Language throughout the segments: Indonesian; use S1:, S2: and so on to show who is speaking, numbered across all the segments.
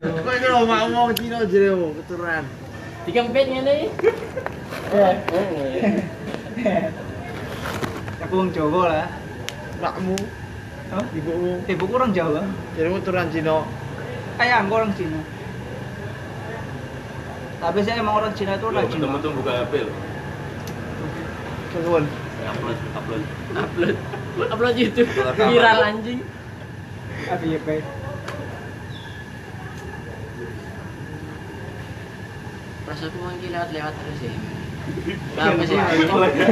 S1: mak mau Cino jeremu keturunan.
S2: Tiga empet ngene.
S3: Aku wong Jawa lah.
S1: Makmu,
S3: Oh,
S1: ibumu
S3: ibuku orang Jawa.
S1: jeremu keturunan Cino.
S3: Kayak aku orang Cina. Tapi saya emang orang Cina itu rajin. Bang.
S4: Iya, Betul-betul buka HP loh.
S1: Keturunan.
S4: Saya upload, upload.
S2: Upload. Upload YouTube. Viral anjing.
S3: Apa ya, Pak?
S2: Rasaku mungkin lewat-lewat terus ya. Kenapa sih?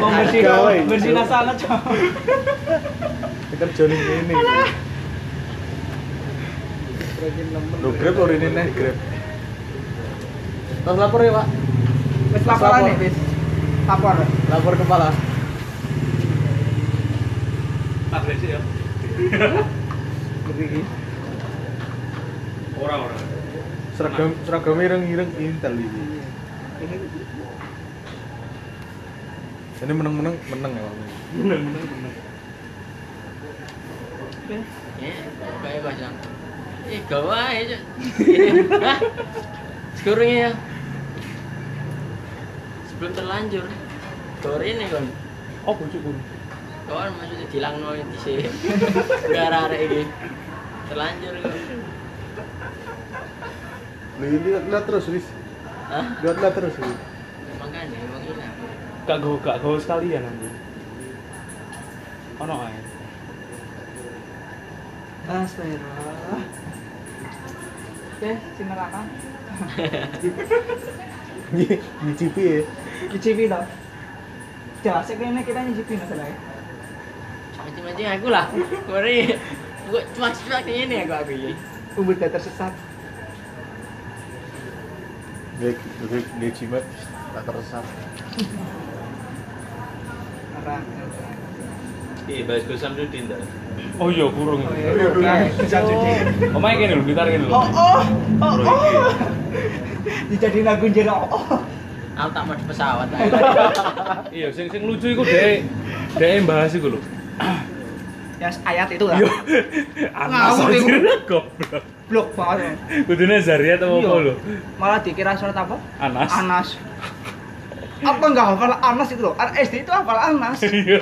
S3: Mau bersih,
S1: Gawe.
S3: bersih salah cowok.
S5: Kita join ini. Lo grab lo ini nih grab.
S1: Terus lapor ya pak?
S3: Wis laporan nih, wis. Lapor.
S1: Lapor kepala.
S4: Tak rese ya. Orang-orang.
S5: Seragam seragam ireng-ireng intel ini. Ini menang-menang menang ya. Bang.
S2: Eh, kayak bahasa. Eh, gawa ya. Hah? Sekarang ya. Sebelum terlanjur. Gawa ini kon.
S5: Oh, bujuku.
S2: Kawan maksudnya hilang nol di sini. Gara-gara ini. Terlanjur kon.
S5: Lu ini lihat lihat terus, Riz.
S2: Hah?
S5: Lihat lihat terus. Riz.
S2: Makanya, makanya.
S6: Gak gaul, gak gaul sekalian nanti. Ono ae.
S3: Astagfirullah. Oke, sing neraka.
S5: Nyi- Nyicipi ya.
S3: Nyicipi dong. Jelas kayaknya kita nyicipi no salah.
S2: Mancing-mancing aku lah. Kori. Gue cuak-cuak ini aku aku ya. ini.
S3: Umur gak tersesat.
S5: Dia dia dia cimet tak tersesat.
S3: Neraka.
S4: Iya, bahas gue Samsudin dah.
S6: Oh iya, kurung.
S3: Oh iya. Bisa jadi.
S6: Omae kene lho, gitar kene lho.
S3: Oh oh. Oh oh. Dijadiin lagu jero. Oh oh.
S2: Aku tak mau di pesawat lah.
S6: Iya, sing sing lucu iku dhek dhek bahas iku lho.
S3: Ya ayat itu lah.
S6: Yo. Anas
S3: Ngawur iku.
S6: anjir, goblok.
S3: Blok banget.
S6: Kudune Zaria apa apa
S3: Iya.
S6: lho?
S3: Malah dikira surat apa?
S6: Oh, Anas.
S3: Anas. Apa enggak hafal Anas itu loh? Anak SD itu hafal Anas.
S6: Iya.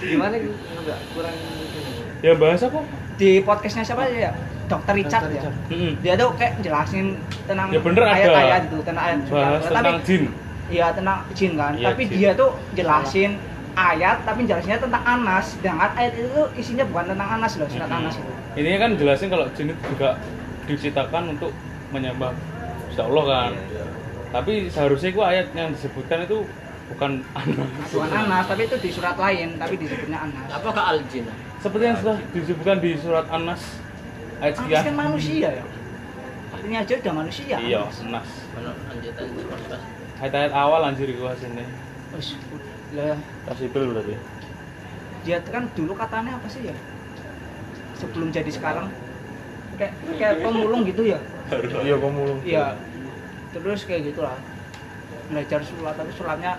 S1: Gimana? Enggak kurang. ini.
S6: Ya bahas apa?
S3: Di podcastnya siapa ya? Dokter
S1: Dr.
S3: Richard, ya.
S1: Richard.
S6: Heeh.
S3: Dia tuh kayak jelasin tentang
S6: Ya bener ada.
S3: ayat-ayat itu, tentang ayat
S6: Bahas tentang
S3: tapi
S6: jin.
S3: iya tentang jin kan.
S6: Iya,
S3: tapi
S6: jin.
S3: dia tuh jelasin ayat tapi jelasinnya tentang Anas. Sedangkan ayat itu tuh isinya bukan tentang Anas loh, surat Anas itu.
S6: Ini kan jelasin kalau jin itu juga diciptakan untuk menyembah Insya Allah kan. Tapi seharusnya itu ayat yang disebutkan itu bukan anak.
S3: Bukan Anas, tapi itu di surat lain, tapi disebutnya Anas.
S2: Apa ke Aljin?
S6: Seperti yang sudah disebutkan di surat Anas ayat
S3: Anas
S6: sekian.
S3: kan ya? manusia ya. Artinya aja udah manusia.
S6: Iya,
S3: Anas.
S6: Anas.
S2: Kalau lanjutan itu pas
S6: Ayat-ayat awal anjir gua sini.
S3: Wes, lah
S5: Kasipil berarti.
S3: dia tuh kan dulu katanya apa sih ya sebelum jadi sekarang kayak kayak pemulung gitu ya
S5: Iya, pemulung.
S3: iya terus kayak gitulah belajar sulap tapi sulapnya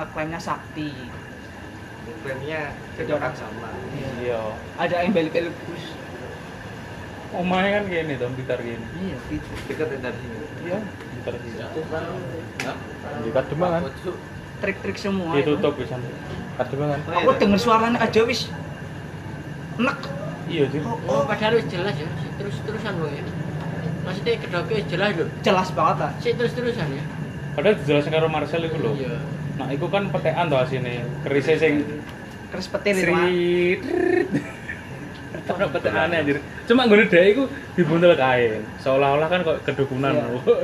S3: ngeklaimnya sakti
S1: Kerennya jadi orang sama.
S6: Iya.
S3: ada yang balik balik bus
S6: Omahnya kan gini dong, gitar gini.
S3: iya gitu
S1: Dekat dari sini.
S6: Iya, gitar gini.
S5: Di kan? Kademangan.
S3: trik-trik semua itu.
S6: Ditutup bisa.
S5: Kademangan.
S3: aku denger suaranya aja wis enak
S6: Iya, Jir.
S3: oh,
S2: Oh,
S3: oh,
S2: padahal wis jelas ya. Terus terusan wong ya. Maksudnya kedoke wis jelas lho.
S3: jelas banget lah
S2: Si terus terusan ya.
S6: Padahal dijelasin karo Marcel itu loh.
S2: Iya.
S6: Nah, itu kan petean tuh sini. Kerisnya sing
S3: keris petir itu Mas.
S6: Srit. Ono peteane anjir. Cuma nggone dhek iku dibuntel kain. Seolah-olah kan kok kedukunan.
S3: Iya.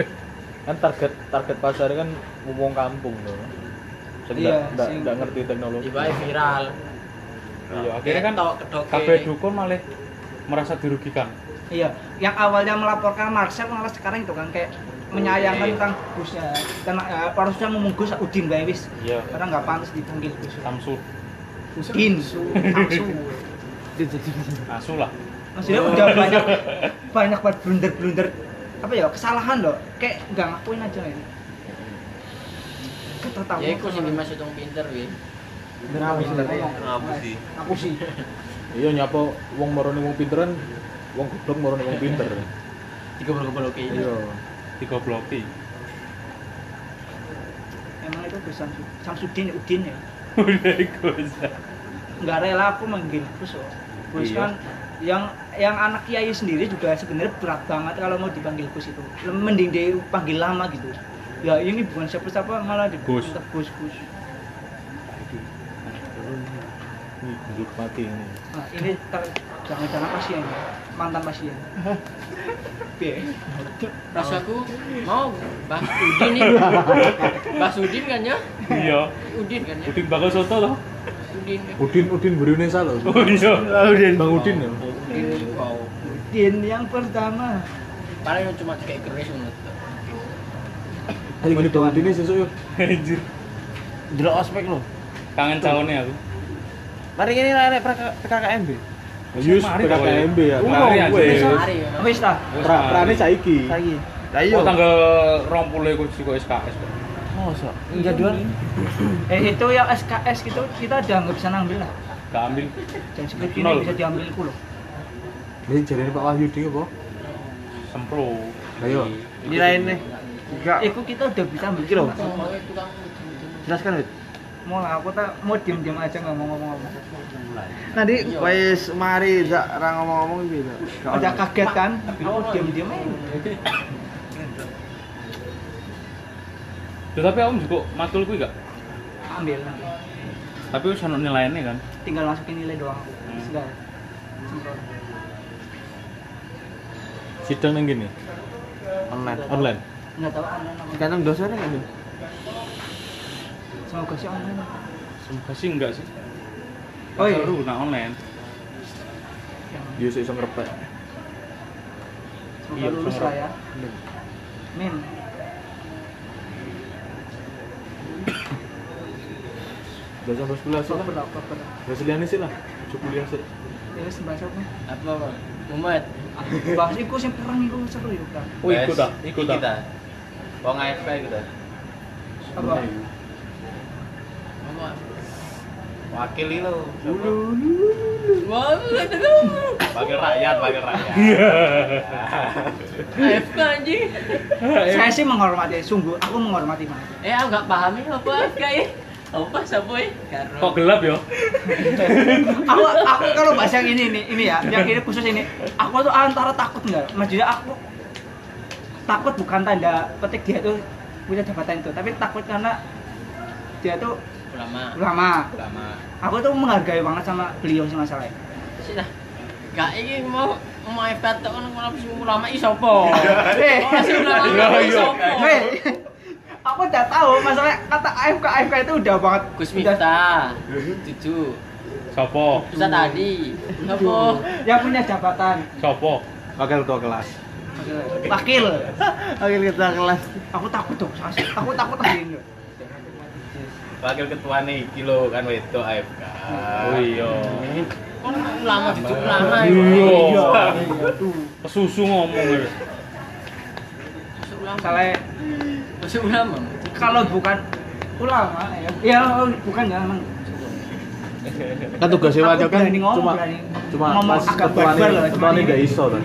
S5: Kan target target pasar kan wong kampung loh.
S3: Iya,
S5: Iya,
S3: sing-
S5: enggak ngerti teknologi.
S2: Tiba viral.
S6: Iya, akhirnya kan
S2: Ketok, kedoke.
S6: kabeh dukun malah merasa dirugikan.
S3: Iya, yang awalnya melaporkan Marcel malah sekarang itu kan kayak menyayangkan
S2: Iya.
S3: tentang busnya. Karena eh, harusnya ngomong Gus Udin bae wis.
S6: Iya.
S3: Karena nggak pantas dipanggil Gus.
S6: Samsu,
S3: Udin. Langsung.
S6: asu lah.
S3: Maksudnya udah banyak banyak banget blunder-blunder apa ya kesalahan loh. Kayak nggak ngakuin aja ya. Ketetapan.
S2: Ya iku sing dimaksud wong pinter kuwi.
S4: Ngapusi.
S3: Aku sih.
S5: Iya, nyapa wong marone wong pinteran, wong goblok marone wong pinter.
S2: digobrol-gobrol oke
S5: Iya.
S6: digobloki
S3: emang itu Gus Samsu- Samsudin ya Udin ya
S6: udah ikusan
S3: nggak rela aku manggil Gus loh. Gus
S6: Iya.
S3: kan yang yang anak kiai sendiri juga sebenarnya berat banget kalau mau dipanggil Gus itu mending dia panggil lama gitu ya ini bukan siapa-siapa malah di
S6: Gus.
S3: Gus Gus
S5: Ini hidup mati ini.
S3: nah, ini ter- jangan-jangan pasien ya. mantan pasien Piye?
S2: rasaku mau Bas Udin nih Bas Udin kan ya
S6: iya
S2: Udin kan ya
S6: Udin bakal soto loh
S2: Udin
S5: Udin Udin Brunesa loh.
S6: oh iya
S5: Udin. Bang Udin ya.
S2: Udin wow
S3: Udin yang pertama
S2: paling cuma kayak keris menurut
S5: Ayo gini Bang Udin ini sesuk yuk.
S6: anjir
S5: Delok ospek lo.
S6: kangen calonnya aku
S5: Mari ini arek PKKMB. Yus
S6: Mari, Bang.
S5: PKKMB ya.
S6: Mari,
S5: Tahu
S6: anjir.
S5: gue.
S2: hari ya
S3: Nah, wis ta
S5: Pra
S1: Ah.
S5: prane saiki.
S3: lagi
S5: Iya.
S6: Oh, tanggal 20 aku juga SKS kok.
S5: Masa jadwal
S3: eh itu yang SKS gitu kita udah nggak bisa ngambil lah
S6: Gak ambil
S3: dan seperti
S6: Nol.
S3: ini bisa diambil ku loh
S5: ini jarene Pak Wahyu ding apa?
S6: sempro.
S5: Ayo.
S1: Nilainya enggak
S6: Eh.
S3: itu kita udah bisa ambil
S1: Iki loh.
S3: Pak.
S1: jelaskan Wit.
S3: mau lah aku tak mau diem diem aja nggak mau ngomong apa
S1: Tadi wis mari jak ra ngomong-ngomong piye to?
S3: ada kaget kan mau diem diem aja
S6: Tuh, tapi aku juga matul kuwi gak.
S3: ambil
S6: Tapi wis ono nilainya kan.
S3: tinggal masukin nilai doang aku
S6: Hmm.
S3: segala Sempurna.
S5: Sidang nang gini.
S1: online.
S5: Online.
S3: nggak tahu online apa
S1: Sekarang dosennya kan.
S3: semoga sih online
S6: Semoga sih enggak sih.
S3: oh iya
S6: Seru nah online.
S5: Yo sik iso ngrepek.
S3: semoga
S6: Iya,
S3: lulus
S6: semoga.
S3: lah ya min
S5: Udah sampai sebelah sih lah.
S3: Oktober Oktober
S5: Udah seliane sih lah. Ujuk kuliah sih.
S3: ya sembah siapa
S2: apa Muhammad
S3: bahas iku sih perang iku seru ya perang
S6: Oh, ikut ah, ikut ah.
S4: kita. Wong AFK ikut
S2: gitu.
S4: ah.
S3: apa
S2: Muhammad
S4: Wakil ini lo.
S2: Muhammad aduh.
S4: Wakil rakyat, wakil rakyat.
S2: AFK anjing
S3: saya sih menghormati sungguh aku menghormati banget
S2: eh aku gak paham ini apa AFK ya apa siapa ya karo
S6: Kok gelap ya?
S3: aku aku kalau bahas yang ini ini ini ya yang ini khusus ini aku tuh antara takut enggak maksudnya aku takut bukan tanda petik dia tuh punya jabatan itu tapi takut karena dia tuh
S2: ulama
S3: lama
S4: Sama
S3: aku tuh menghargai banget sama beliau sih masalahnya
S2: sudah gak ini mau mau AFK tak ono ulama sing ulama iso apa
S3: Eh.
S2: Ora sing ulama
S6: Iya, iya.
S2: iso apa
S3: Hei, aku udah tahu masalah kata AFK AFK itu udah banget
S2: Gus
S3: udah-
S2: Miftah cucu
S6: Sopo?
S2: Ustaz tadi apa
S3: Oh. yang punya jabatan
S6: Sopo?
S5: Wakil ketua kelas.
S3: wakil
S1: Oke, kita kelas.
S3: aku takut dong Sas. aku takut lagi
S4: wakil ketua nih iki lo kan wedok AFK.
S6: Oh iya.
S2: Kan ulama cucu ulama ya
S6: Iya.
S3: tuh
S6: Susu ngomong.
S2: Masuk ulama
S3: misalnya
S2: masuk ulama
S3: kalau bukan ulama ya ya bukan ya emang
S5: Kan tugasnya
S3: Aku
S5: wakil kan
S3: berani ngomong,
S5: cuma
S3: berani.
S5: cuma
S3: Ngomong
S5: pas
S3: agak
S5: ketuaan
S3: barbar lah,
S5: ketuaan
S3: cuman
S5: nggak
S3: ini.
S5: iso kan.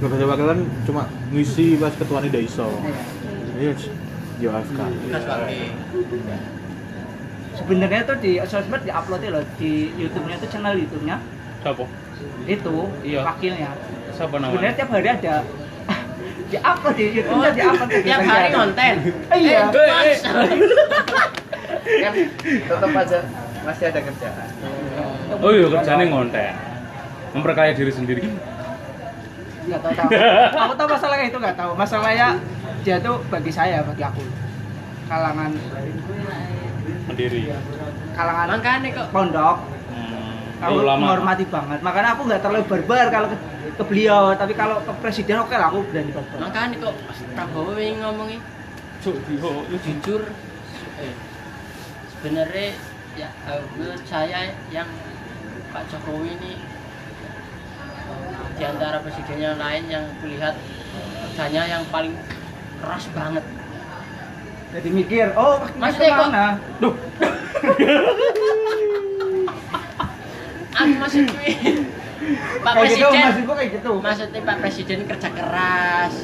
S5: Tugasnya wakil kan cuma ngisi pas ketuaan nggak iso.
S3: Iya.
S5: Iya. Yo AFK.
S2: Mas Bakti
S3: sebenarnya tuh di sosmed di uploadnya loh di YouTube-nya tuh channel YouTube-nya
S6: Sopo?
S3: itu
S6: Iya.
S3: wakilnya
S6: Siapa
S3: sebenarnya
S6: namanya?
S3: tiap hari ada di upload di YouTube-nya Iya, di gitu? upload
S2: Oh, tiap hari konten
S3: Iya.
S2: Eh, Mas.
S1: Kan tetap aja masih ada kerjaan.
S6: Oh iya, kerjanya ngonten. Memperkaya diri sendiri.
S3: nggak tahu tahu aku tahu masalahnya itu nggak tahu masalahnya dia tuh bagi saya bagi aku kalangan
S6: Sendiri.
S3: kalangan
S2: makanya kok
S3: pondok
S6: Hmm,
S2: Oh,
S3: aku
S6: ulama.
S3: menghormati banget makanya aku nggak terlalu barbar kalau ke, ke beliau tapi kalau ke presiden oke lah aku berani barbar
S2: makanya kok Mas Prabowo yang ngomongin
S6: Cuk, yo, yo,
S2: jujur eh, sebenarnya ya eh, menurut saya yang Pak Jokowi ini eh, di antara presiden yang lain yang kulihat kerjanya yang paling keras banget
S3: jadi mikir oh kakinya
S2: Maksudnya kok-
S3: kemana
S2: aku masih cuy Pak
S3: kayak gitu
S2: Presiden.
S3: maksudku kayak gitu
S2: Maksudnya Pak Presiden kerja keras.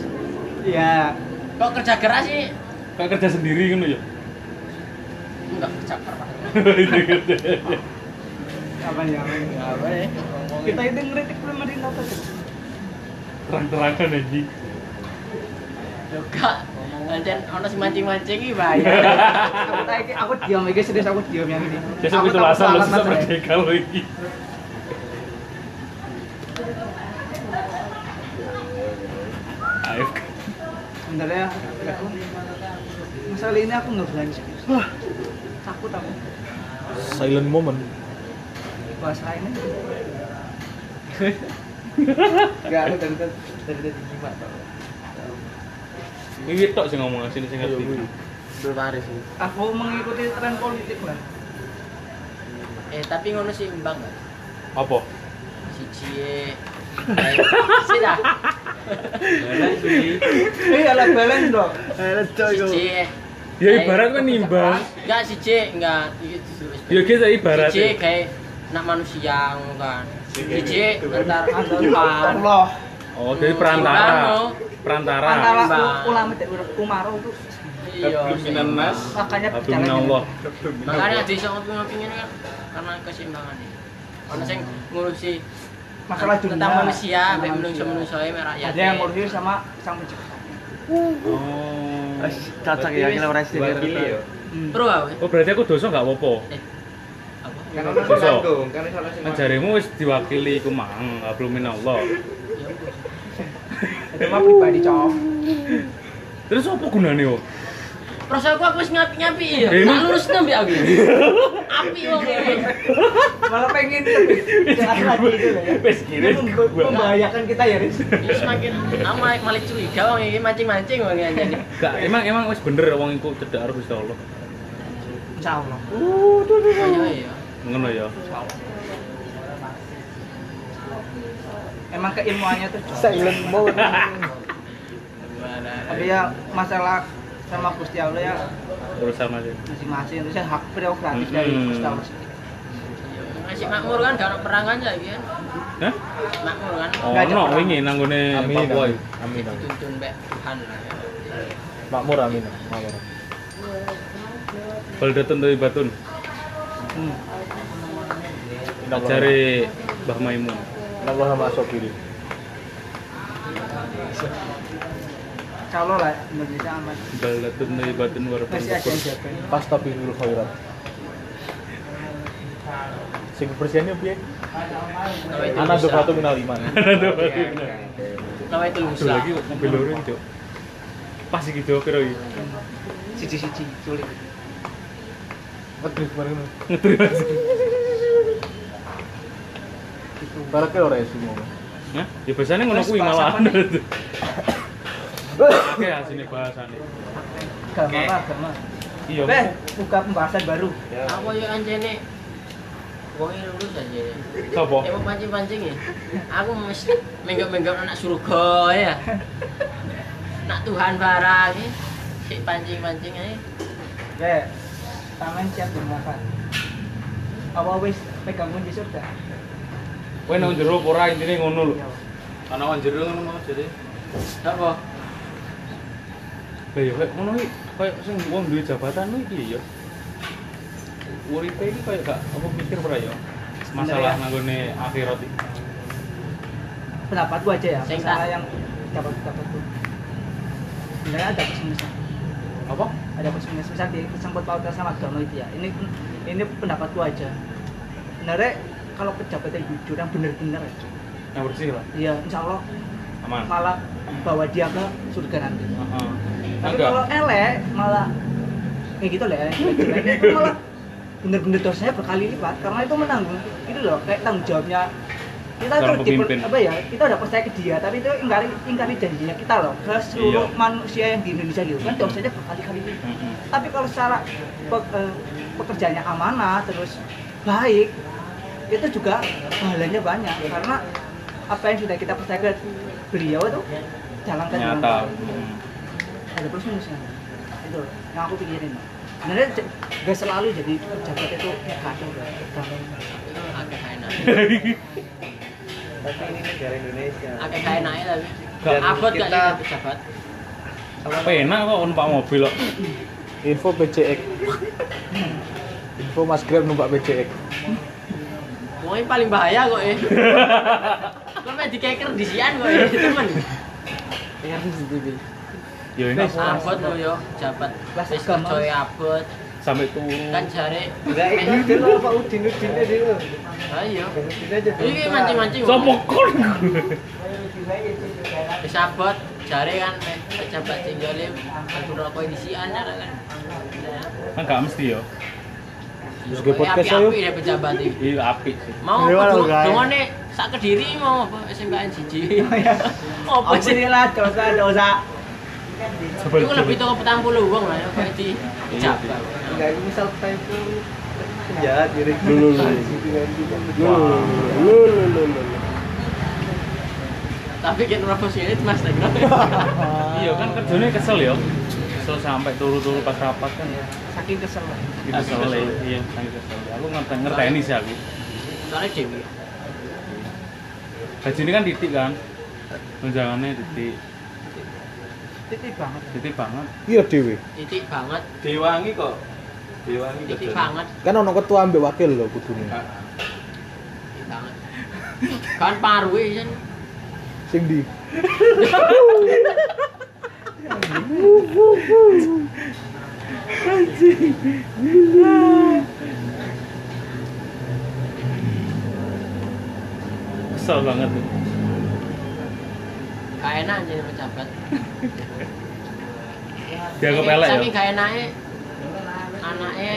S3: iya
S2: Kok kerja keras sih?
S6: Kayak kerja sendiri kan ya.
S2: Enggak kerja keras.
S6: Ini kerja.
S3: apa nih apa nih apa ya kita itu ngeritik pemerintah tuh
S6: Terang-terangan anjing.
S2: Loh, Kak, nanti ono sing mancing-mancing iki bahaya.
S3: aku tak iki- aku diam iki serius aku diam yang ini
S6: Besok
S3: Aku
S6: itu
S3: takut
S6: lasan lo
S3: salah ya.
S6: susah
S3: masalah.
S6: merdeka lo ini. AFK.
S3: bentar ya aku masalah ini aku nggak berani serius Wah, takut aku
S5: silent moment
S3: bahasa ini Enggak, aku dari tadi dari tadi gimana tau.
S6: Ini tok sih ngomong sini sing ngerti.
S1: Berbaris.
S3: Aku mengikuti tren politik lah.
S2: eh, tapi ngono sih imbang. Kak.
S6: Apa?
S2: Siji eh, sih dah.
S3: Iya lah balance dong.
S1: Eh, coy.
S2: Siji. eh.
S6: Ya ibarat kan nimbang.
S2: Enggak siji, enggak iki disuruh.
S6: Ya kita ibarat.
S2: Siji kayak nak manusia ngono kan. Siji antar
S3: Antar
S2: antar
S3: Allah.
S6: Oh, jadi perantara. Perantara.
S3: Antara
S2: Bang.
S3: u- ulama dan ur- umaroh itu
S2: Iya.
S4: Hablum
S2: seimbang.
S4: minannas.
S3: makanya
S6: Abdul
S3: bicaranya.
S6: Allah.
S2: Makanya di sok ngopi-ngopi ini kan karena keseimbangan ini. Ono sing ngurusi
S3: Masalah dunia.
S2: tentang manusia, mbek
S3: manusia.
S2: menungso-menungso e rakyat.
S3: Ada yang ngurusin sama sang pencipta.
S6: Oh.
S1: Wes, cocok ya kira ora sih.
S6: ya?
S3: Hmm.
S2: Bro, apa?
S6: Oh, berarti aku dosa enggak apa-apa.
S2: Apa?
S7: Karena
S6: Bisa.
S7: salah dong, karena salah sing
S6: Ajarimu wis diwakili iku mang, ablumin Allah.
S2: Ya, bro.
S3: Itu mah pribadi cowok.
S6: Terus apa gunane yo?
S2: Perasa aku aku wis ngapi-ngapi ya.
S6: Eh,
S2: Tak
S6: lu-
S2: lurus nembe aku. Api wong e. ini.
S3: Malah pengen lebih jalan lagi itu loh ya.
S6: Wis kira
S3: Ini mem- membahayakan kita ya, Riz.
S2: Ini semakin nama malah curiga wong iki mancing-mancing wong e, iki anjane.
S6: Gak, emang emang wis bener wong iku cedak harus Gusti Allah.
S3: Insya Allah.
S2: Oh iya iya.
S6: Ngono ya.
S3: Emang keilmuannya tuh cocok.
S5: silent moment
S3: Tapi ya masalah sama Gusti Allah ya
S6: Terus sama sih.
S3: masing-masing itu hak prerogatif dari
S6: Mm-mm.
S3: Gusti Allah sendiri.
S2: Masih makmur kan gak ada perangan saiki kan.
S6: Hah?
S2: Makmur kan
S6: Oh,
S3: Ngajak
S6: no,
S3: perang.
S6: wingi nang gone
S5: amin
S6: Papua.
S5: amin amin amin.
S2: dituntun mbek Tuhan lah ya.
S5: makmur amin makmur
S6: Baldatun dari Batun.
S3: Hmm.
S6: Ajare Mbah Maimun.
S5: Allah sama Asobiri
S3: Insya Allah lah Indonesia aman.
S6: Baldatun dari Batun warahmatullahi
S3: Masih ada yang
S6: wabarakatuh.
S3: jaga.
S5: pasta biru khairat sing kebersihannya piye
S2: Nawa itu
S5: anak
S2: lusa.
S5: dofatu minal iman
S2: Nawa itu
S6: Aduh,
S2: lusa.
S6: lagi mobil loro iki, Cok. Pas iki Cok piro iki?
S3: Siji-siji sulit.
S5: Wedhus bareng ngono.
S6: Ngedri Mas.
S5: Barake ora esi ngomong.
S6: Hah? Ya biasanya ngono
S3: Terus
S6: kuwi
S3: bahas
S6: malah.
S3: apa nih?
S6: Oke, asine bahasane.
S3: Gak apa agama.
S6: Iya.
S3: Beh, buka pembahasan baru.
S2: Apa yo anjene? Wong iki lurus anjene.
S6: Sopo?
S2: Emang pancing-pancing ya? Aku mesti menggap-menggap anak surga ya. Nak Tuhan barang ya. Si pancing-pancing aja.
S3: Beh, Ya, tangan siap dimakan. Apa wis pegang kunci surga?
S6: Kowe nang jero apa ora intine ngono lho.
S3: Iya.
S4: Ana wong jero ngono mau jadi.
S2: Apa?
S6: Lah ya kayak ngono iki kayak sing wong duwe jabatan kuwi iki ya. Uripe iki kayak gak apa pikir ora ya. Masalah
S3: Sebenarnya-
S6: nanggone akhirat iki.
S3: Pendapat gua aja ya,
S2: Sing
S3: masalah
S2: tak-
S3: yang dapat dapat tuh. Sebenarnya ada plus minusnya.
S6: Apa?
S3: Ada plus minus misal di kesempatan pautan sama agama itu ya. Ini ini pendapat gua aja. Sebenarnya kalau pejabat yang jujur yang bener-bener aja.
S6: Yang bersih lah.
S3: Iya, insya Allah
S6: Aman.
S3: malah bawa dia ke surga nanti.
S6: Heeh.
S3: Tapi
S6: Enggak.
S3: kalau elek malah kayak gitu lah, jeleknya itu malah bener-bener dosanya berkali lipat karena itu menanggung itu loh kayak tanggung jawabnya kita
S6: Seorang
S3: tuh diper-
S6: pemimpin.
S3: apa ya kita udah percaya ke dia tapi itu ingkari ingkari janjinya kita loh ke seluruh
S6: Iya.
S3: manusia yang di Indonesia gitu kan dosanya berkali-kali lipat
S6: Heeh.
S3: tapi kalau secara pe- eh, pekerjaannya amanah terus baik itu juga pahalanya banyak karena apa yang sudah kita percaya ke beliau itu jalankan dengan
S6: Nyata.
S3: baik.
S6: Heeh.
S3: ada plus minusnya itu loh, yang aku pikirin sebenarnya j- nggak selalu jadi gitu. pejabat itu kacau gak
S2: Itu agak enak.
S5: Tapi ini negara Indonesia.
S2: Akeh enake ya, tapi.
S6: Gak
S2: Abot gak
S5: kita-
S2: jadi pejabat.
S6: Penak kok numpak mobil kok.
S5: Info PCX. Info Mas Grab numpak PCX.
S2: Wong paling bahaya kok eh. Kok mek dikeker disian kok eh, temen.
S5: Iya,
S6: Ya ini
S2: Abot lo yo pejabat. Wis coy abot.
S6: sampai turun.
S2: Kan jare
S5: Lah itu aja lo Pak Udin Udin aja lo.
S2: Ayo.
S5: Udin aja.
S2: Iki iya. mancing-mancing. Wong.
S6: Sopo kon?
S2: Wis abot jare kan mek pejabat singgole aku rokok disian ya kan.
S6: Kan gak mesti yo.
S5: Terus ke podcast ayo.
S2: Api ya pejabat iki.
S6: Iya apik sih.
S2: Mau
S5: Iya,
S2: apa
S5: walau,
S2: dong-
S5: guys.
S2: dongone sak kediri mau apa SMKN siji. Apa
S3: Apa
S2: sih?
S3: sih Oh, lah dosa dosa.
S6: Sebel.
S2: Iku lebih toko petang puluh uang lah, kayak
S6: Iya.
S2: di pejabat.
S5: Enggak ini misal saya itu penjahat
S3: Ya,
S5: jadi
S2: Tapi kan Robos ini mas tak kira.
S6: Iya kan kerjanya kesel yo. Kesel sampai turu-turu pas rapat kan.
S3: Saking kesel. lah.
S6: Gitu kesel. Iya, saking kesel. Aku ngerti ngerteni sih aku.
S2: Soalnya dewi.
S6: Gaji ini kan titik kan. Tunjangannya titik.
S3: Titik banget.
S6: Titik banget.
S5: Iya dewe.
S2: Titik banget,
S4: Dewangi kok. Dewangi
S2: titik
S4: kerjanya.
S2: banget,
S5: Kan ono ketua ambek wakil lho kudune.
S4: Ah,
S2: titik banget. Kan parwe kan.
S5: Sing di
S6: Kesel banget tuh.
S2: Gak enak jadi pejabat.
S6: Dianggap elek ya?
S2: Saking gak enaknya, anaknya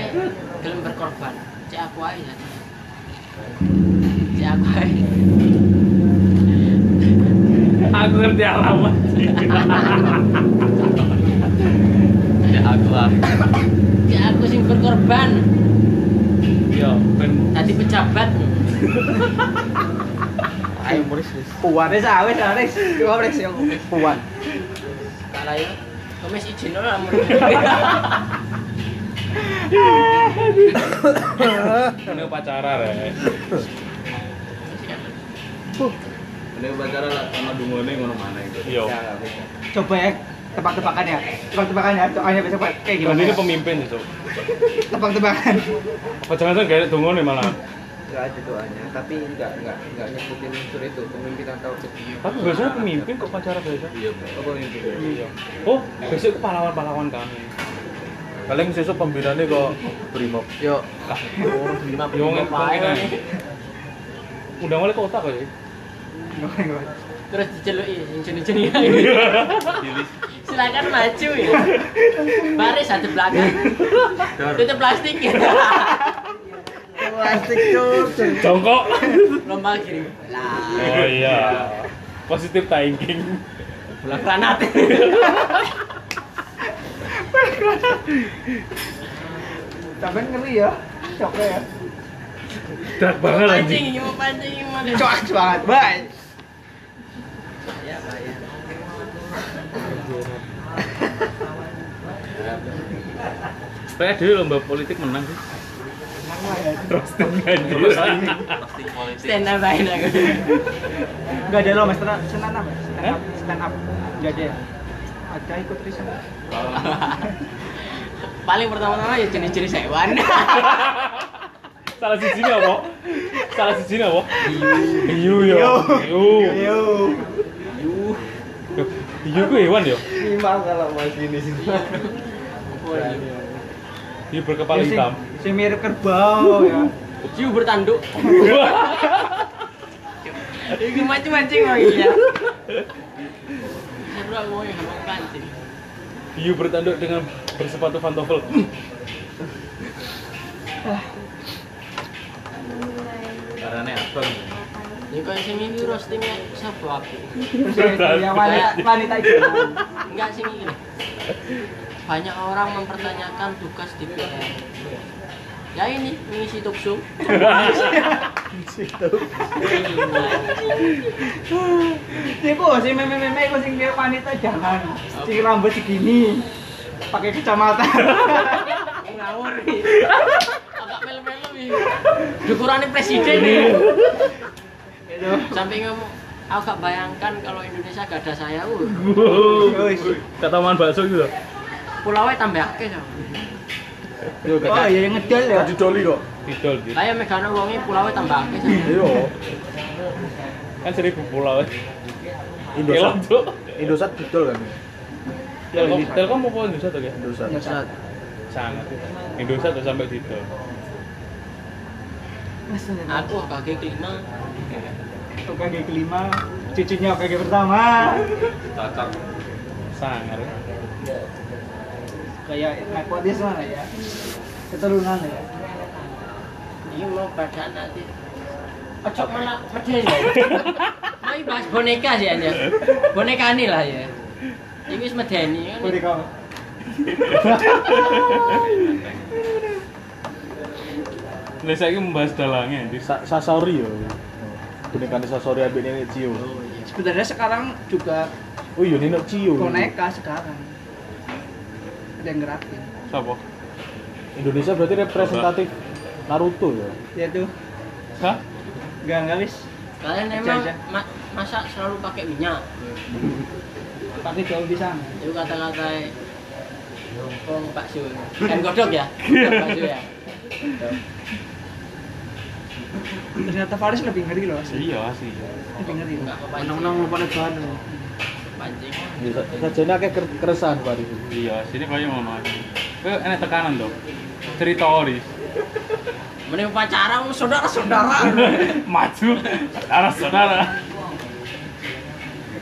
S2: belum berkorban. Cek aku aja. Cek aku aja.
S6: Aku ngerti alamat.
S4: Ya aku
S6: ah.
S4: lah.
S2: Cek aku sing berkorban.
S6: Iya, ben
S2: Tadi pejabat.
S5: ayo muris wis.
S3: Puan. Wis ah, wis ah, wis. Dua wis yo.
S5: Puan.
S2: Kalau ya, komis izin lah.
S6: ini pacara rek.
S4: Ini upacara lah sama dungone ngono mana itu.
S6: Iya.
S4: Ya, nggak bisa.
S3: Coba ya tebak-tebakan ya. Tebak-tebakan ya. Soalnya besok kayak
S6: Dan
S3: gimana?
S6: ini
S3: ya?
S6: pemimpin itu.
S3: Tebak-tebakan.
S6: Apa jangan-jangan gak ada dungone malah.
S4: Enggak ada doanya, tapi enggak enggak enggak nyebutin unsur itu pemimpin atau
S6: Tapi biasanya pemimpin kok pacara biasa.
S4: Iya, pemimpin. Iya.
S6: Oh, besok pahlawan-pahlawan kami.
S5: Paling sesuk pembinane kok Brimob.
S4: Yo,
S6: Yo ngene. Udah mulai kota kok ya.
S2: Terus diceluki jenis-jenis Silakan maju ya. Baris ada belakang. Tutup plastik ya.
S3: Plastik tuh.
S6: Jongkok.
S2: Lomba kiri. Lah,
S6: Oh iya. Positif thinking.
S2: bola granat.
S3: Tapi ngeri ya. Coba ya.
S6: Dark banget anjing.
S2: Pancing, ini mau pancing, ini mau.
S3: Coak banget. Bye.
S2: Ya, Pak, ya.
S6: Kayak dulu lomba politik menang sih. Roasting anjing.
S2: Stand up aja aku.
S3: Enggak ada lo mas stand up. Stand up. Stand
S6: Hah?
S3: up. Stand up. Enggak ada ya. Ada ikut riset.
S2: Paling pertama-tama ya jenis-jenis hewan.
S6: Salah siji ini apa? Salah siji ini apa? Hiu. Hiu yo. Hiu.
S3: Yo.
S6: Yo, Hiu ku hewan yo.
S5: Lima kalau Mas ini sih.
S6: Hiu berkepala
S3: Ya, sing-
S6: hitam.
S3: Sing mirip kerbau ya.
S2: Ciu bertanduk. Ini mancing-mancing lagi ya. Seru aku ya, mau ngomong pancing.
S6: Hiu bertanduk dengan bersepatu pantofel.
S4: karena abang.
S2: Ini kok sing Ya, ini roastingnya siapa aku?
S3: Terus ya, ya, wanita wanita itu.
S2: Enggak sing ini. loh. Banyak orang mempertanyakan tugas di PR. Ya ini mengisi tuksu.
S3: Iku sing meme-meme iku sing mirip wanita jangan. Sing rambut segini. Pakai kacamata.
S2: Ngawur nih. Agak melu-melu nih. Dukurane presiden nih. Sampai ngomong, aku gak bayangkan kalau Indonesia gak ada saya. Uh,
S6: Kata makan bakso gitu.
S2: pulaunya tambah akeh. Cok.
S3: Oh iya yang ngedol ya.
S5: doli kok.
S6: Didol gitu.
S2: Lah ya megane wonge pulaunya tambah akeh. Cok.
S5: Iya.
S6: Kan seribu pulau. Elok
S5: Indosat.
S6: tuh.
S5: Indosat didol kan.
S6: Telkom, Telkom apa Indosat tuh ya?
S5: Indosat.
S3: Nyesot.
S6: Sangat. Indosat tuh sampai didol.
S2: Aku kakek kelima.
S3: OKG kelima, cucunya OKG pertama.
S4: Cocok.
S6: Sangat. ya.
S3: Kayak nepotisme lah ya. Keturunan lah ya.
S2: Ini mau pada nanti. Ojo malah medeni. Mau bahas boneka sih aja. Boneka ini lah ya. Ini wis medeni kan.
S3: Boleh kau.
S6: Nah, saya membahas dalangnya. Di
S5: Sa- Sasori yo. Bonekane Sasori ambek Nenek Cio.
S3: iya. Sebenarnya sekarang juga
S5: Oh iya Nenek Cio.
S3: boneka sekarang. Ada yang gerakin.
S6: Sopo?
S5: Indonesia berarti representatif Naruto ya.
S3: Ya tuh,
S6: Hah?
S3: enggak enggak wis.
S2: Kalian
S3: Aja,
S2: emang
S3: aja.
S2: ma- masak selalu pakai minyak.
S3: Pakai jauh di sana.
S2: Itu kata-kata Lompong Pak Su. Kan godok ya? Godok Pak Su ya.
S3: Ternyata Faris lebih ngeri loh. asli.
S6: Iya sih.
S3: Lebih ngeri.
S2: Enggak kepancing.
S1: Menang-menang lupa nih bahan.
S2: Pancing.
S5: Sajane akeh ker- keresahan Pak Arif.
S6: Iya, sini kaya mau makan. Kau enak tekanan dong. Cerita oris.
S2: Mending pacara sama saudara-saudara.
S6: Maju. Saudara-saudara.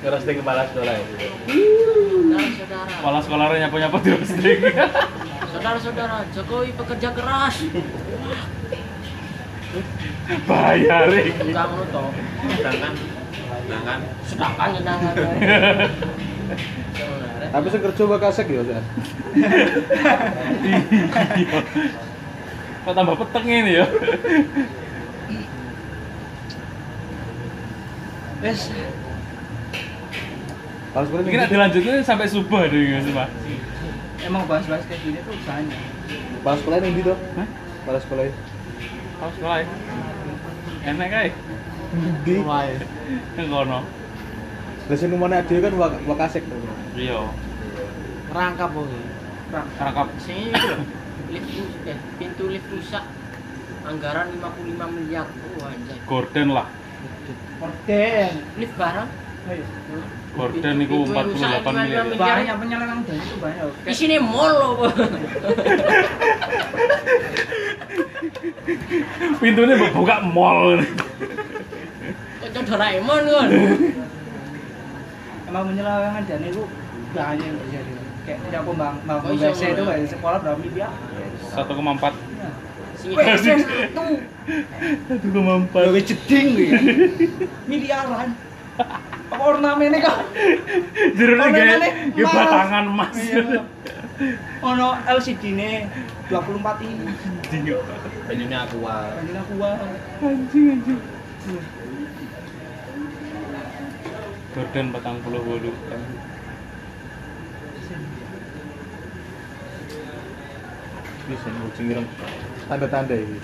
S5: Keras ning kepala sekolah ya.
S2: Saudara-saudara.
S6: Kepala sekolahnya nyapa-nyapa terus
S2: Saudara-saudara, Jokowi pekerja keras.
S6: Bahaya, Rik.
S2: Enggak ngono toh.
S4: Sedangkan, sedangkan
S2: Sedangkan nyenangan.
S5: Tapi sing kerja wae kasek ya. Jan.
S6: Iya. Kok tambah peteng ini ya?
S3: Wes,
S5: Harus kuwi
S6: Mungkin nak dilanjutin sampai subuh deh, nggak sih, Pak?
S3: emang bahas-bahas kayak gini tuh usahanya.
S5: Kepala sekolah ning ndi to?
S6: Hah?
S5: Kepala sekolah.
S6: Harus sekolah ya? Enak kaya?
S5: Ndi?
S6: Yang kono.
S5: Lah sing numane adewe kan wak- wakasek to.
S6: Iya.
S1: Rangkap wong.
S6: Rangkap.
S2: Sini lift rus- eh, pintu lift rusak. Anggaran 55 miliar. Oh anjay.
S6: Gordon lah.
S3: Korden.
S2: Lift barang.
S3: Ayo.
S6: Gordon itu
S2: Pintu- pintu rusak
S6: 48 miliar.
S2: lima-
S3: Barang yang penyelewengan dan itu banyak.
S2: Di sini mall loh.
S6: Pintunya buka mall.
S2: Kocok Doraemon kan.
S3: Emang penyelewengan dan itu banyak yang terjadi. Kayak tidak pembang, bangun
S2: Oh, iya,
S3: WC itu
S2: iya.
S3: kayak sekolah berapa ya? miliar?
S6: 1,4.
S2: Sini
S3: WC satu
S6: 1,4.
S3: Bagi jeding gitu ya. miliaran. Apa ornamennya kok?
S6: Jerone gaya
S3: Ornamennya
S6: gaya
S3: emas.
S6: batangan mas.
S3: Iya. Ono LCD ne 24 ini.
S6: Dinyo.
S4: banyunya aku wah.
S3: Anjing aku wah.
S6: Anjing anjing. Gordon 48.
S5: Wis sing kucing ireng. Tanda-tanda iki.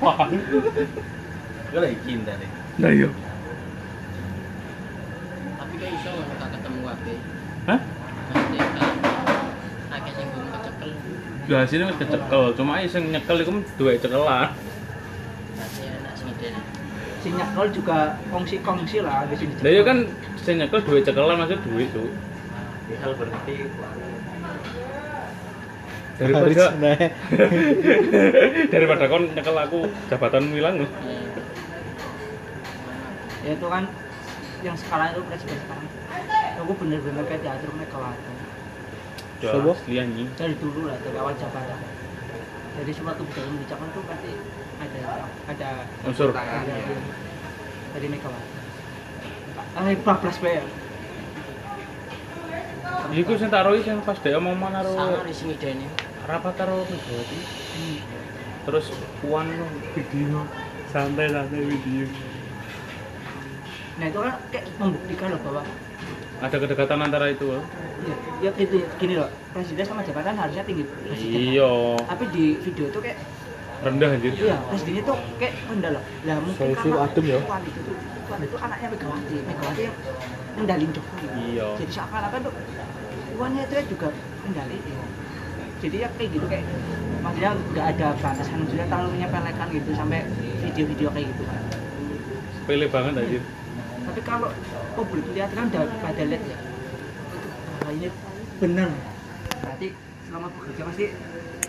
S6: Wah.
S4: Gue lagi cinta nih.
S6: Lah iya.
S2: Tapi kayak iso ngono gak ketemu kabeh.
S6: Hah?
S2: Mesti kan. Akeh sing belum kecekel.
S6: Lah sini wis kecekel, cuma ae sing nyekel iku duwe cekelan.
S2: Masih enak sing ngedeni.
S3: Si nyakol juga kongsi-kongsi lah habis ini.
S6: Lah iya kan sing nyekel duwe cekelan maksud duwe itu.
S4: Misal berhenti,
S6: Daripada daripada kon nyekel aku jabatanmu hilang loh.
S2: Eh,
S3: ya itu kan yang sekarang itu presiden sekarang aku bener-bener kayak diaturnya kelakuan
S5: Sopo?
S6: Coba lianyi.
S3: dari dulu lah dari awal jabatan dari semua kebijakan kebijakan itu pasti ada ada
S6: Unsur.
S3: ada dari Ah, Megawati Ini bablas bayar
S6: Iku sing taruhi sing pas dhek omong karo
S2: Sangar di sini Deni.
S6: rapat karo Megawati. Terus puan lo video santai-santai video.
S3: nah itu kan kayak membuktikan loh bahwa
S6: Ada kedekatan antara itu loh.
S3: ya, ya gitu ya. gini loh presiden sama jabatan harusnya tinggi presiden
S6: Iya.
S3: tapi di video itu kayak
S6: rendah anjir
S3: iya SD-nya tuh kayak rendah loh lah mungkin
S5: Solusi
S3: karena
S5: adem ya.
S3: Puan itu tuh Puan itu anaknya Megawati Megawati yang ngendalin Jokowi
S5: Iya.
S3: jadi seakan-akan tuh Puan itu juga ngendaliin jadi ya kayak gitu kayak maksudnya nggak ada batasan juga terlalu menyepelekan gitu sampai video-video kayak gitu kan
S6: sepele banget anjir
S3: tapi kalau publik lihat kan udah pada lihat ya wah ini benar berarti selama bekerja pasti